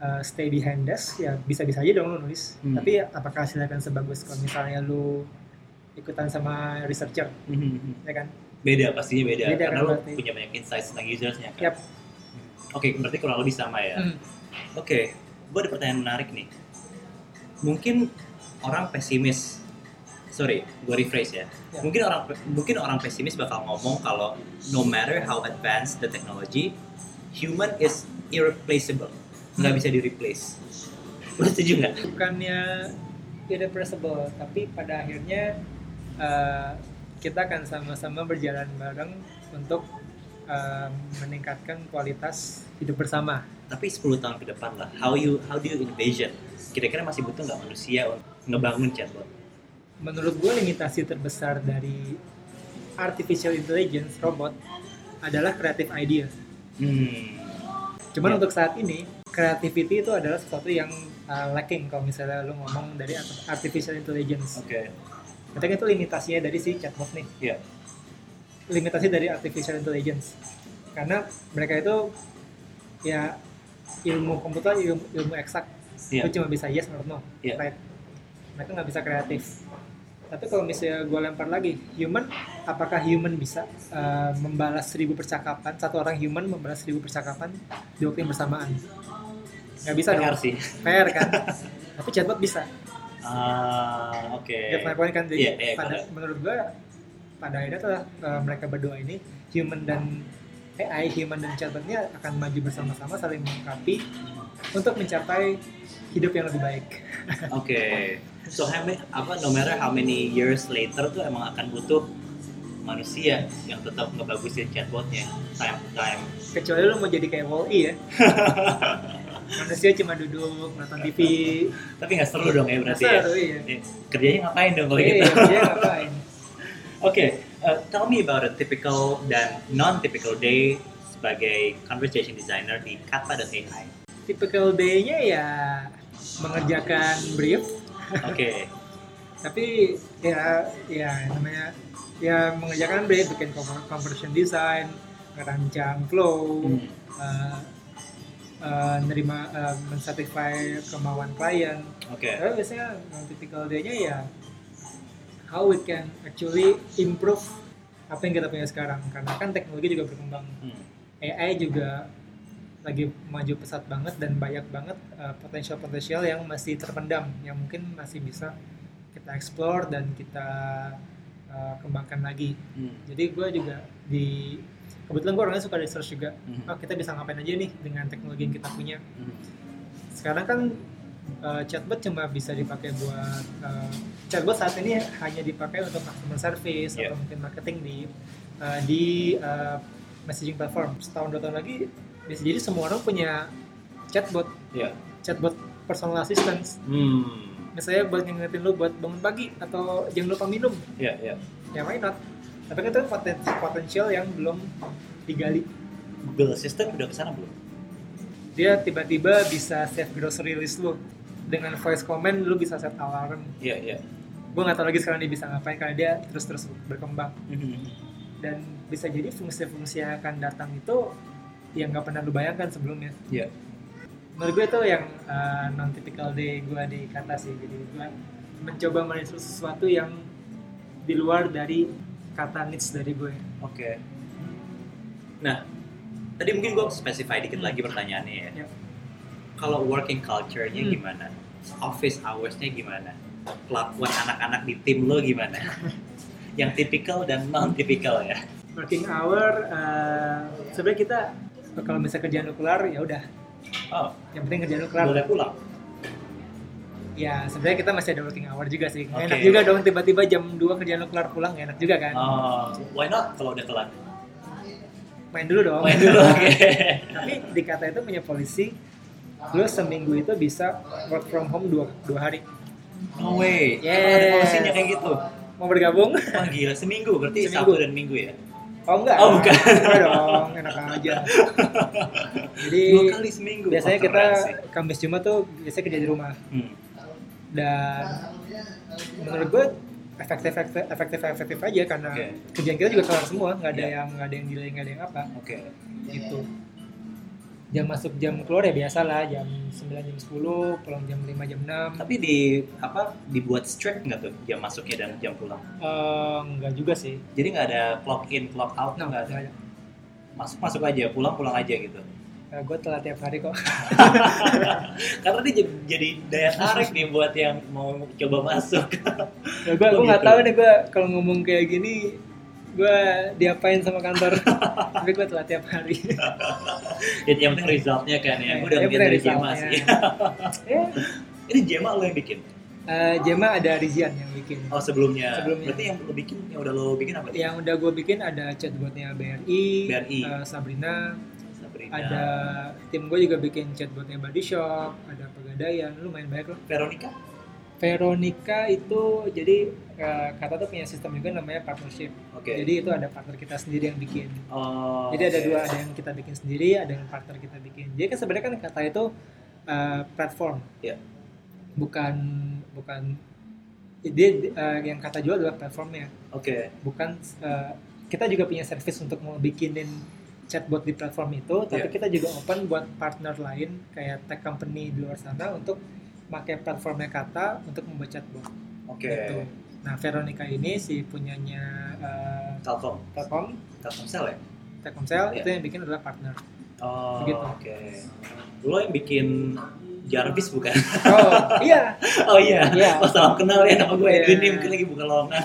uh, stay behind desk ya bisa-bisa aja dong lo nulis Hmm. tapi apakah hasilnya akan sebagus kalau misalnya lo ikutan sama researcher Mhm. ya kan beda pastinya beda, Beda karena kan lo berarti. punya banyak insight tentang usersnya kan. Yap. Oke, berarti kurang lebih sama ya. Hmm. Oke, gue ada pertanyaan menarik nih. Mungkin orang pesimis, sorry, gue rephrase ya. Ya. Mungkin orang mungkin orang pesimis bakal ngomong kalau no matter how advanced the technology, human is irreplaceable, nggak Hmm. bisa di replace. Lo setuju nggak? bukannya irrepressible tapi pada akhirnya eh, kita akan sama-sama berjalan bareng untuk eh, meningkatkan kualitas hidup bersama tapi 10 tahun ke depan lah how you how do you envision kira-kira masih butuh nggak manusia untuk ngebangun chatbot menurut gue limitasi terbesar dari artificial intelligence robot adalah creative idea hmm Cuman Iya. untuk saat ini creativity itu adalah sesuatu yang uh, lacking kalau misalnya lu ngomong dari art- artificial intelligence. Oke. Katanya itu limitasinya dari si chatbot nih. Iya. Limitasi dari artificial intelligence. Karena mereka itu ya ilmu komputer ilmu, ilmu eksak Iya. Lu cuma bisa yes or no Iya. right mereka nggak bisa kreatif tapi kalau misalnya gue lempar lagi human apakah human bisa uh, membalas seribu percakapan satu orang human membalas seribu percakapan di waktu yang bersamaan nggak bisa PR dong sih. fair kan tapi chatbot bisa Ah, oke. That's my point kan jadi Iya, iya, pada, menurut gue pada akhirnya tuh uh, mereka berdua ini human dan AI human dan chatbotnya akan maju bersama-sama saling melengkapi untuk mencapai hidup yang lebih baik Oke. So how many, apa no matter how many years later tuh emang akan butuh manusia yang tetap ngebagusin chatbotnya time to time. kecuali lo mau jadi kayak Wall-E ya manusia cuma duduk nonton TV Tapi nggak seru dong ya berarti ya. Masa, iya Eh, Kerjanya ngapain dong kalau gitu? Iya, dia ngapain? Oke, uh, tell me about a typical dan non-typical day sebagai conversation designer di Kata dan AI. Typical day-nya ya mengerjakan brief, Oke, tapi ya ya namanya ya mengerjakan brief bikin conver- conversion design, merancang flow, Hmm, eh, eh, nerima eh, mensatisfy kemauan klien. oke, Tapi biasanya yang typical day-nya ya how we can actually improve apa yang kita punya sekarang karena kan teknologi juga berkembang Hmm, AI juga lagi maju pesat banget dan banyak banget uh, potensial-potensial yang masih terpendam yang mungkin masih bisa kita explore dan kita uh, kembangkan lagi hmm, jadi gue juga di kebetulan gue orangnya suka research juga hmm, oh kita bisa ngapain aja nih dengan teknologi yang kita punya hmm. sekarang kan uh, chatbot cuma bisa dipakai buat uh, chatbot saat ini hanya dipakai untuk customer service Yeah. atau mungkin marketing di uh, di uh, messaging platform setahun dua tahun lagi bisa jadi semua orang punya chatbot Yeah. chatbot personal assistance Hmm, misalnya buat ngingetin lu buat bangun pagi atau jangan lupa minum ya, ya. ya why not tapi kan itu poten- potensial yang belum digali Google Assistant udah kesana belum? dia tiba-tiba bisa save grocery list lu dengan voice comment lu bisa set alarm Iya, iya. gue nggak tahu lagi sekarang dia bisa ngapain karena dia terus terus berkembang Mhm. dan bisa jadi fungsi-fungsi yang akan datang itu yang nggak pernah lu bayangkan sebelumnya Iya. menurut gue itu yang non typical day gue di kata sih jadi gue mencoba meresearch sesuatu yang di luar dari kata niche dari gue Oke. Nah, tadi mungkin gue specify dikit Hmm. lagi pertanyaannya ya. Yep. Kalau working culture-nya Hmm. gimana? Office hours-nya gimana? Kelakuan anak-anak di tim lo gimana? Yang tipikal dan non-tipikal ya. working hour eh, sebenarnya kita kalau misalnya kerjaan lu kelar ya udah Oh, yang penting kerjaan lu kelar boleh pulang. ya sebenarnya kita masih ada working hour juga sih Nggak Oke. enak juga dong tiba-tiba jam 2 kerjaan lu kelar pulang nggak enak juga kan Oh, why not kalau udah telat? main dulu dong Main dulu, oke. tapi di kata itu punya polisi lo seminggu itu bisa work from home dua, dua hari No way. Yes. Emang Ada polisinya kayak gitu. mau bergabung Wah gila, seminggu berarti Seminggu. Sabtu dan Minggu ya? oh enggak Oh, bukan. Enggak dong enak aja jadi Dua kali seminggu. biasanya Wah, kita keren sih. kamis jumat tuh biasanya kerja di rumah Hmm. dan menurut gue efektif efektif efektif efektif aja karena Oke. kerjaan kita juga kelar semua nggak ada Iya. yang nggak ada yang delay nggak ada yang apa Oke. gitu jam masuk jam keluar ya biasa lah jam 9 jam 10 pulang jam 5 jam 6 Tapi di apa dibuat strict nggak tuh jam masuknya dan jam pulang? Eh, enggak juga sih Jadi nggak ada clock in, clock out, Nah, nggak nggak ada. ada. Masuk masuk aja, pulang pulang aja gitu. gue Ya, telat tiap hari kok. Karena dia jadi, jadi daya tarik nih buat yang mau coba masuk. Ya, gue Oh, gue nggak gitu. tahu deh gue kalau ngomong kayak gini gue diapain sama kantor. Tapi gue telat tiap hari. jadi yang penting resultnya kan ya. Gue Iya, Yang udah bikin penting dari Jema resultnya. sih. Ya, Ini Jema lo yang bikin? eh, Jema ada Rizian yang bikin. Oh sebelumnya. Sebelumnya. Iya. Berarti yang lo bikin, yang udah lo bikin apa? Yang udah gue bikin ada chatbotnya BRI, BRI. eh, Sabrina, Sabrina. ada tim gue juga bikin chatbotnya Body Shop, ada Pegadaian, lumayan banyak loh. Veronica? Veronica itu jadi eh, kata tuh punya sistem juga namanya partnership. Oke. Jadi itu ada partner kita sendiri yang bikin. Oh, Jadi ada oke. dua, ada yang kita bikin sendiri, ada yang partner kita bikin. Jadi kan sebenarnya kan kata itu eh, platform, Iya. bukan bukan dia eh, yang kata jual adalah platformnya, Oke. bukan eh, kita juga punya service untuk mau bikinin chatbot di platform itu, tapi Iya. kita juga open buat partner lain kayak tech company di luar sana untuk pakai platformnya kata untuk membuat chatbot. Oke. Gitu. Nah Veronica ini si punyanya eh, Telkom, Telkom, Telkomsel ya? Telkomsel Iya. itu yang bikin adalah partner. Oh, Begitu. oke. Lo yang bikin Jarvis bukan? Oh iya, Oh iya. iya. Oh, salam kenal ya nama gue Iya. Edwin nih mungkin lagi buka lowongan.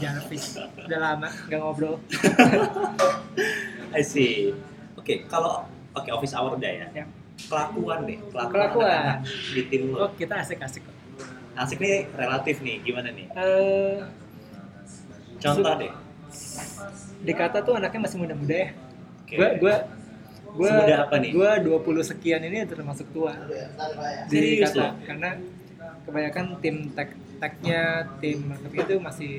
Jarvis. Udah lama nggak ngobrol. I see. Oke, kalau oke office hour udah ya. Ya. Kelakuan deh, kelakuan, Kelakuan. anak-anak di tim lo. Oh kita asik-asik kok. Asik nih relatif nih, gimana nih? Eh, Contoh Su- deh. dikata tuh anaknya masih muda-muda ya. Oke. Gue gue gue Semuda apa nih? gue 20 sekian ini termasuk tua. Di Serius lo? kata karena kebanyakan tim tech technya tim marketing itu masih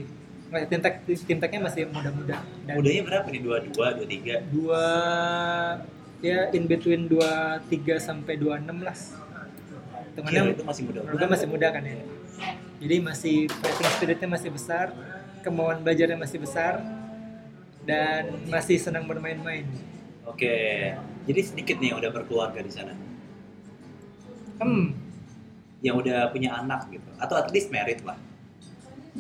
masih- tim tech tim technya masih muda-muda dan Mudanya berapa nih? 22, 23? dua ya in between 23 sampai 26 lah. Gila, Temennya itu masih muda. Lu kan masih muda kan ya. Jadi masih fighting spiritnya masih besar, kemauan belajarnya masih besar, dan masih senang bermain-main. Oke. Jadi sedikit nih yang udah berkeluarga di sana. Hmm, Yang udah punya anak gitu atau at least married lah.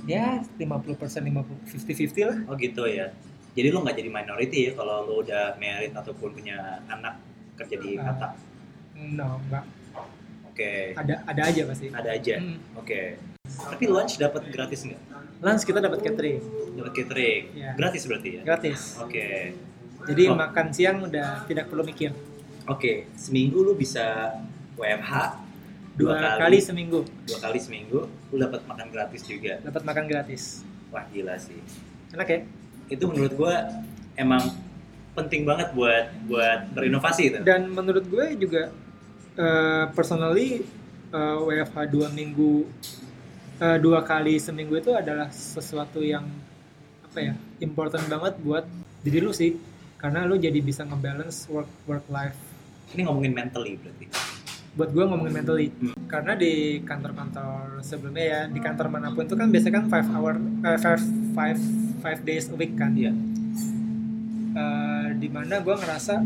ya 50 persen, 50-50 lah. Oh gitu ya. Jadi lo nggak jadi minority ya kalau lo udah married ataupun punya anak kerja di Ah. kata. No, enggak. Oke. Ada ada aja pasti. Ada aja. Hmm. Oke. Tapi lunch dapat gratis nggak? Lunch kita dapat catering, Dapat catering. Iya. Gratis berarti ya. gratis. Oke. Jadi Oh. makan siang udah tidak perlu mikir. Oke. Seminggu lo bisa WFH Dua dua, kali. kali seminggu Dua kali seminggu lo dapat makan gratis juga. dapat makan gratis. Wah gila sih. Enak ya? Itu menurut gua emang penting banget buat buat berinovasi itu. dan menurut gue juga eh, personally eh, WFH dua minggu eh, dua kali seminggu itu adalah sesuatu yang apa ya important banget buat diri lu sih karena lu jadi bisa ngebalance work work life Ini ngomongin mentally berarti. buat gue ngomongin mentally karena di kantor-kantor sebelumnya ya di kantor manapun itu kan biasanya kan five hour eh, five five five days a week kan Iya. Eh, di dimana gue ngerasa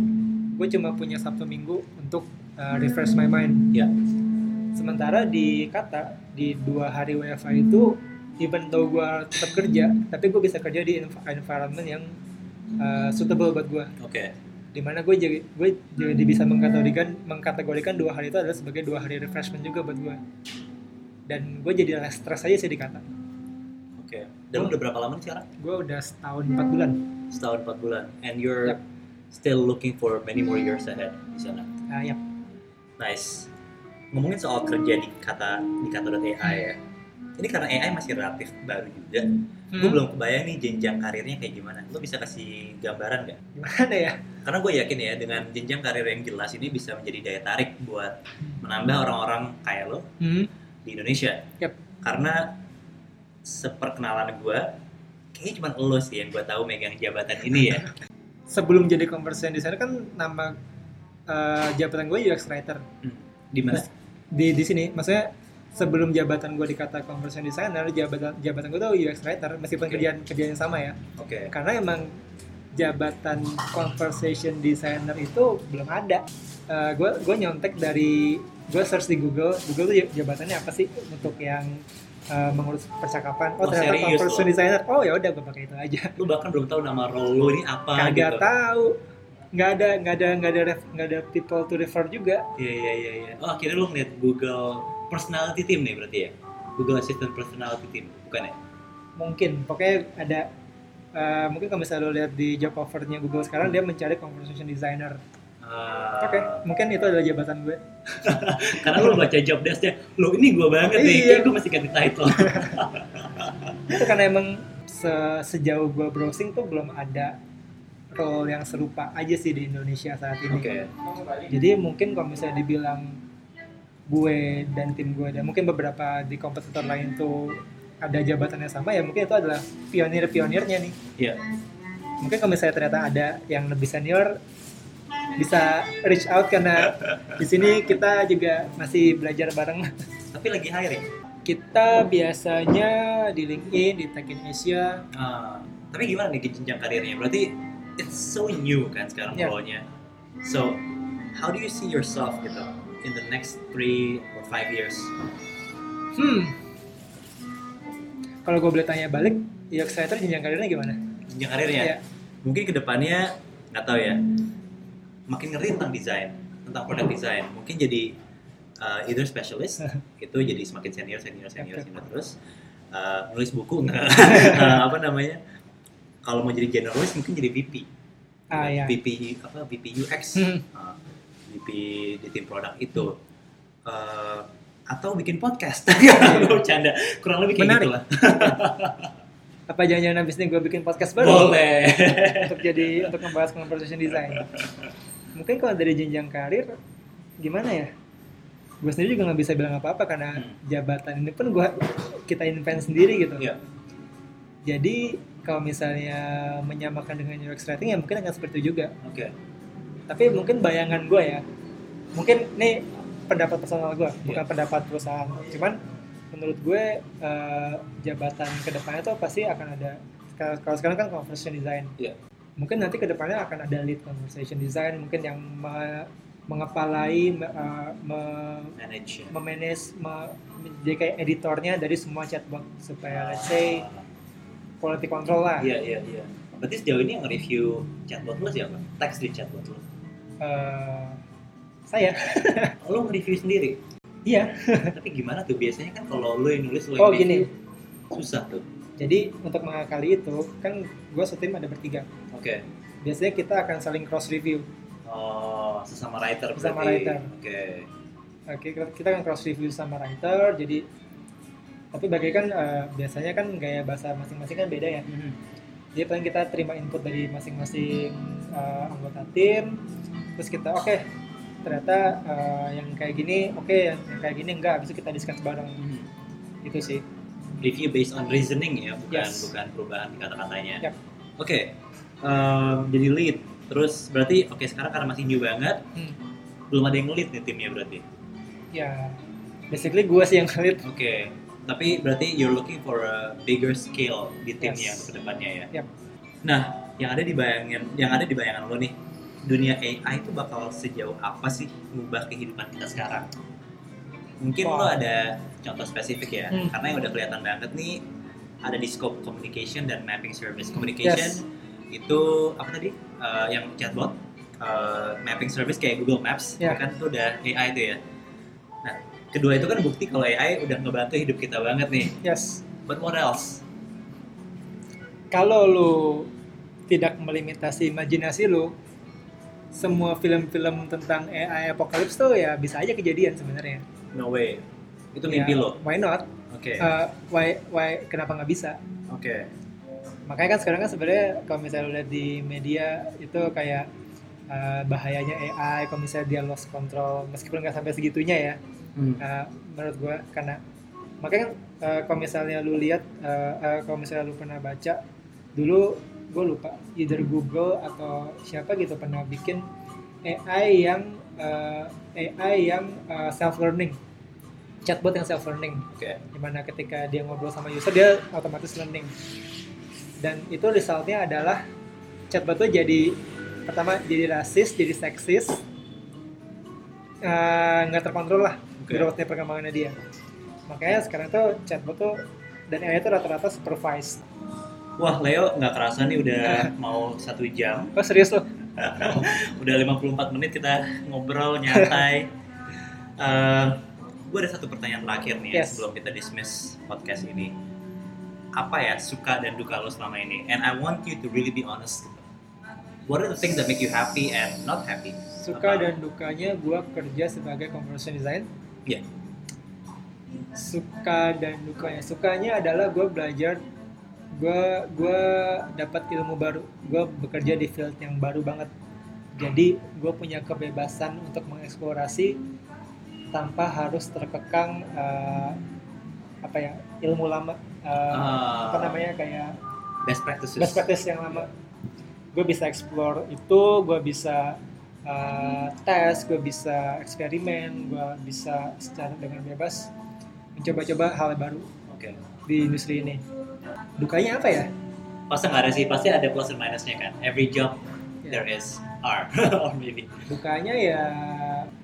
gue cuma punya sabtu minggu untuk eh, refresh my mind Iya. sementara di kata di dua hari WFH itu even though gue tetap kerja tapi gue bisa kerja di env- environment yang eh, suitable buat gue Oke. dimana gue jadi gue jadi bisa mengkategorikan mengkategorikan dua hari itu adalah sebagai dua hari refreshment juga buat gue dan gue jadi less stress aja sih dikata Oke. Dan lo udah berapa lama nih sekarang? gue udah setahun empat bulan Setahun empat bulan. And you're Yep. still looking for many more years ahead di sana. Ah, yap. Nice. Ngomongin soal kerja di kata di kata.ai ya. Ini karena AI masih relatif baru juga. Gue Hmm, belum kebayang nih jenjang karirnya kayak gimana. Lo bisa kasih gambaran nggak? gimana ya Karena gue yakin ya dengan jenjang karir yang jelas ini bisa menjadi daya tarik buat menambah orang-orang kayak lo hmm. di Indonesia. Yap. Karena seperkenalan gue, kayaknya cuma lo sih yang gue tahu megang jabatan ini ya. sebelum jadi conversation designer kan nama eh, jabatan gue UX writer Hmm. Di mana? di di sini maksudnya sebelum jabatan gue dikata conversation designer jabatan jabatan gue tuh UX writer meskipun Oke. kerjaan kerjaan sama ya Oke. karena emang jabatan conversation designer itu belum ada. gue gue nyontek dari gue search di Google, Google tuh jabatannya apa sih untuk yang eh, mengurus percakapan? Oh, Oh, ternyata serius conversation lo? designer. Oh ya udah gue pakai itu aja. Lo bahkan belum tahu nama role lo ini apa Kagak gitu. tahu, nggak ada nggak ada nggak ada ref- nggak ada people to refer juga. Iya iya iya. iya. Oh akhirnya lo ngeliat Google Personality Team nih berarti ya? Google Assistant Personality Team, bukan ya? Mungkin pokoknya ada eh, mungkin kalau misalnya lo lihat di job offer-nya Google sekarang dia mencari conversation designer. Ah, Oke, mungkin itu adalah jabatan gue. Karena lo baca job desk-nya, lo ini gue banget nih, Iya. kayaknya gue masih ganti title. itu karena emang se- sejauh gua browsing tuh belum ada role yang serupa aja sih di Indonesia saat ini. Jadi mungkin kalau misalnya dibilang gue dan tim gue dan mungkin beberapa di kompetitor lain tuh ada jabatannya sama ya mungkin itu adalah pionir-pionirnya nih Iya. mungkin kalau misalnya ternyata ada yang lebih senior bisa reach out karena di sini kita juga masih belajar bareng Tapi lagi ya? hiring. kita biasanya di LinkedIn di Tech Indonesia Ah, tapi gimana nih jenjang karirnya? Berarti it's so new kan sekarang Yeah. role-nya. So, how do you see yourself gitu in the next three or five years? hmm kalau gue boleh tanya balik UX Writer jenjang karirnya gimana? Jenjang karirnya? Iya. Mungkin kedepannya nggak tahu ya. Hmm. Makin ngerti tentang desain, tentang product design. Mungkin jadi uh, either specialist itu jadi semakin senior, senior, Oke. senior, senior terus. Uh, nulis buku nggak? Uh, apa namanya? Kalau mau jadi generalis mungkin jadi VP. Ah ya. VP apa VP UX Hmm. uh, VP di tim produk itu Uh, atau bikin podcast bercanda kurang lebih kayak Iya. Menarik. gitulah Apa jangan-jangan abis ini gue bikin podcast baru boleh untuk jadi untuk membahas conversation design? Mungkin kalau dari jenjang karir gimana ya? Gue sendiri juga nggak bisa bilang apa-apa karena Hmm. jabatan ini pun gue kita invent sendiri gitu. Iya. Jadi kalau misalnya menyamakan dengan UX rating ya mungkin akan seperti itu juga. oke Tapi mungkin bayangan gue ya, mungkin nih pendapat personal gue, Iya. bukan pendapat perusahaan. Cuman menurut gue eh, jabatan kedepannya tuh pasti akan ada. Kalau kalau sekarang kan conversation design. Iya. Mungkin nanti kedepannya akan ada lead conversation design, mungkin yang me- mengepalai, me- eh, me- manage memanage, me- menjadi kayak editornya dari semua chatbot supaya let's say quality control lah. iya iya iya berarti sejauh ini yang review chatbot lo siapa teks di chatbot lo eh saya lo nge-review sendiri iya tapi gimana tuh biasanya kan kalau lo yang nulis lo yang oh review, gini susah tuh jadi untuk mengakali itu kan gue setim ada bertiga oke biasanya kita akan saling cross review oh sesama writer berarti Sesama writer. oke oke kita- kita akan cross review sama writer jadi tapi bagi kan eh, biasanya kan gaya bahasa masing-masing kan beda ya Mhm. jadi paling kita terima input dari masing-masing eh, anggota tim terus kita oke ternyata eh, yang kayak gini oke yang, yang kayak gini enggak habis itu kita discuss bareng Mhm. gitu sih review based on reasoning ya, bukan Yes. bukan perubahan di kata-katanya. Yap. Oke, em, jadi lead. Terus berarti oke sekarang karena masih new banget, Hmm. belum ada yang lead nih timnya berarti. ya basically gue sih yang lead Oke, tapi berarti you're looking for a bigger scale di Yes. timnya untuk kedepannya ya. Yap. Nah, yang ada di bayangan yang ada di bayangan lo nih, dunia AI itu bakal sejauh apa sih mengubah kehidupan kita sekarang? Mungkin lo Wah. ada contoh spesifik ya, Hmm. karena yang udah kelihatan banget nih ada di scope communication dan mapping service communication itu apa tadi Eh, yang chatbot eh, mapping service kayak Google Maps Ya. kan itu udah AI itu ya. Nah, kedua itu kan bukti kalau AI udah ngebantu hidup kita banget nih. yes But what else? kalau lu tidak melimitasi imajinasi lu semua film-film tentang AI apokalips tuh ya bisa aja kejadian sebenarnya. No way. Itu mimpi Ya, lo. Iya. Why not? Oke. Eh, why why kenapa nggak bisa? Oke. Makanya kan sekarang kan sebenarnya kalau misalnya lu lihat di media itu kayak eh, bahayanya AI kalau misalnya dia lost control meskipun nggak sampai segitunya ya. Hmm. Nah, menurut gua karena makanya kan eh, kalau misalnya lu lihat eh, eh, kalau misalnya lu pernah baca dulu gue lupa either Google atau siapa gitu pernah bikin AI yang eh, AI yang self learning chatbot yang self learning Oke. dimana ketika dia ngobrol sama user dia otomatis learning dan itu resultnya adalah chatbot tuh jadi pertama jadi rasis jadi seksis eh, nggak terkontrol lah Oke. growth-nya perkembangannya dia makanya sekarang tuh chatbot tuh dan AI tuh rata-rata supervised Wah, Leo nggak kerasa Ya. nih udah mau satu jam. oh serius loh udah 54 menit kita ngobrol nyantai. Eh, gue ada satu pertanyaan terakhir nih ya, Yes. sebelum kita dismiss podcast ini. Apa ya suka dan duka lo selama ini? And I want you to really be honest. What are the things that make you happy and not happy? suka Apa? dan dukanya gua kerja sebagai conversion design Iya. suka dan dukanya sukanya adalah gua belajar gua gua dapat ilmu baru gua bekerja di field yang baru banget jadi gua punya kebebasan untuk mengeksplorasi tanpa harus terkekang eh, apa ya ilmu lama eh, Ah. apa namanya kayak best practices best practice yang lama gue bisa explore itu gue bisa uh, tes gue bisa eksperimen gue bisa secara dengan bebas mencoba-coba hal baru Oke. di industri ini dukanya apa ya Pasti nggak ada sih, pasti ada plus and minusnya kan. Every job there is R or maybe. dukanya ya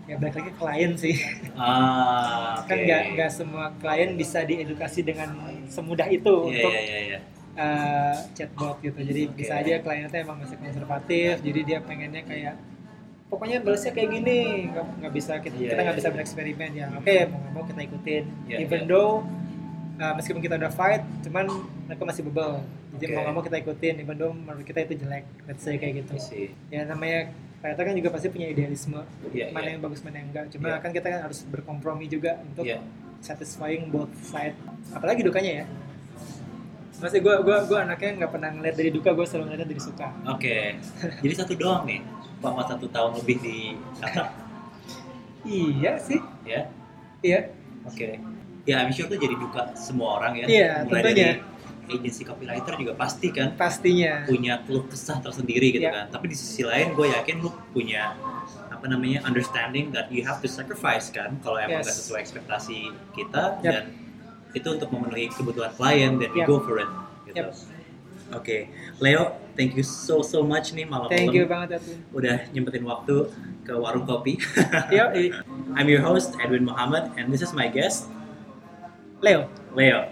ya balik lagi ke klien sih Ah, oke. kan nggak nggak semua klien bisa diedukasi dengan semudah itu Iya, untuk iya, iya, iya. eh, chatbot gitu. Jadi Oke. bisa aja kliennya emang masih konservatif, jadi dia pengennya kayak pokoknya balasnya kayak gini, nggak nggak bisa kita Iya, kita nggak iya, bisa iya. bereksperimen ya. Oke mau nggak mau kita ikutin, Iya, even iya. though eh, meskipun kita udah fight, cuman mereka masih bebel. Jadi Oke. mau nggak mau kita ikutin, even though menurut kita itu jelek, let's say kayak gitu. I see. Ya namanya ternyata kan juga pasti punya idealisme Iya, mana iya. yang bagus mana yang enggak. Cuma Iya. kan kita kan harus berkompromi juga untuk Iya. satisfying both side apalagi dukanya ya masih gue gua gua anaknya nggak pernah ngeliat dari duka gue selalu ngeliatnya dari suka Oke. Jadi satu doang nih, selama satu tahun lebih di Qatar, iya sih ya. iya Oke. Ya, I'm sure tuh jadi duka semua orang ya. Iya, Mulai tentunya. dari agensi copywriter juga pasti kan pastinya punya keluh kesah tersendiri gitu Iya. kan. Tapi di sisi lain gue yakin lu punya apa namanya understanding that you have to sacrifice kan kalau emang Yes. gak sesuai ekspektasi kita Yap. dan itu untuk memenuhi kebutuhan klien dan we Yap. go for it gitu. Yap. Oke, Leo, thank you so so much nih malam thank you malam banget Atun udah nyempetin waktu ke warung kopi. yo eh, I'm your host Edwin Muhammad and this is my guest Leo Leo.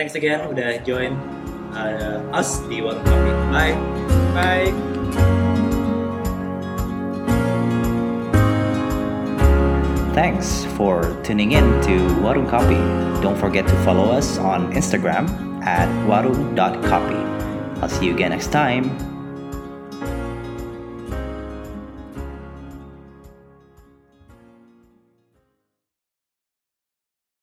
Thanks again udah join uh, us di Warung Kopi. Bye. bye Thanks for tuning in to Warung Copy. Don't forget to follow us on Instagram at warung.copy. I'll see you again next time.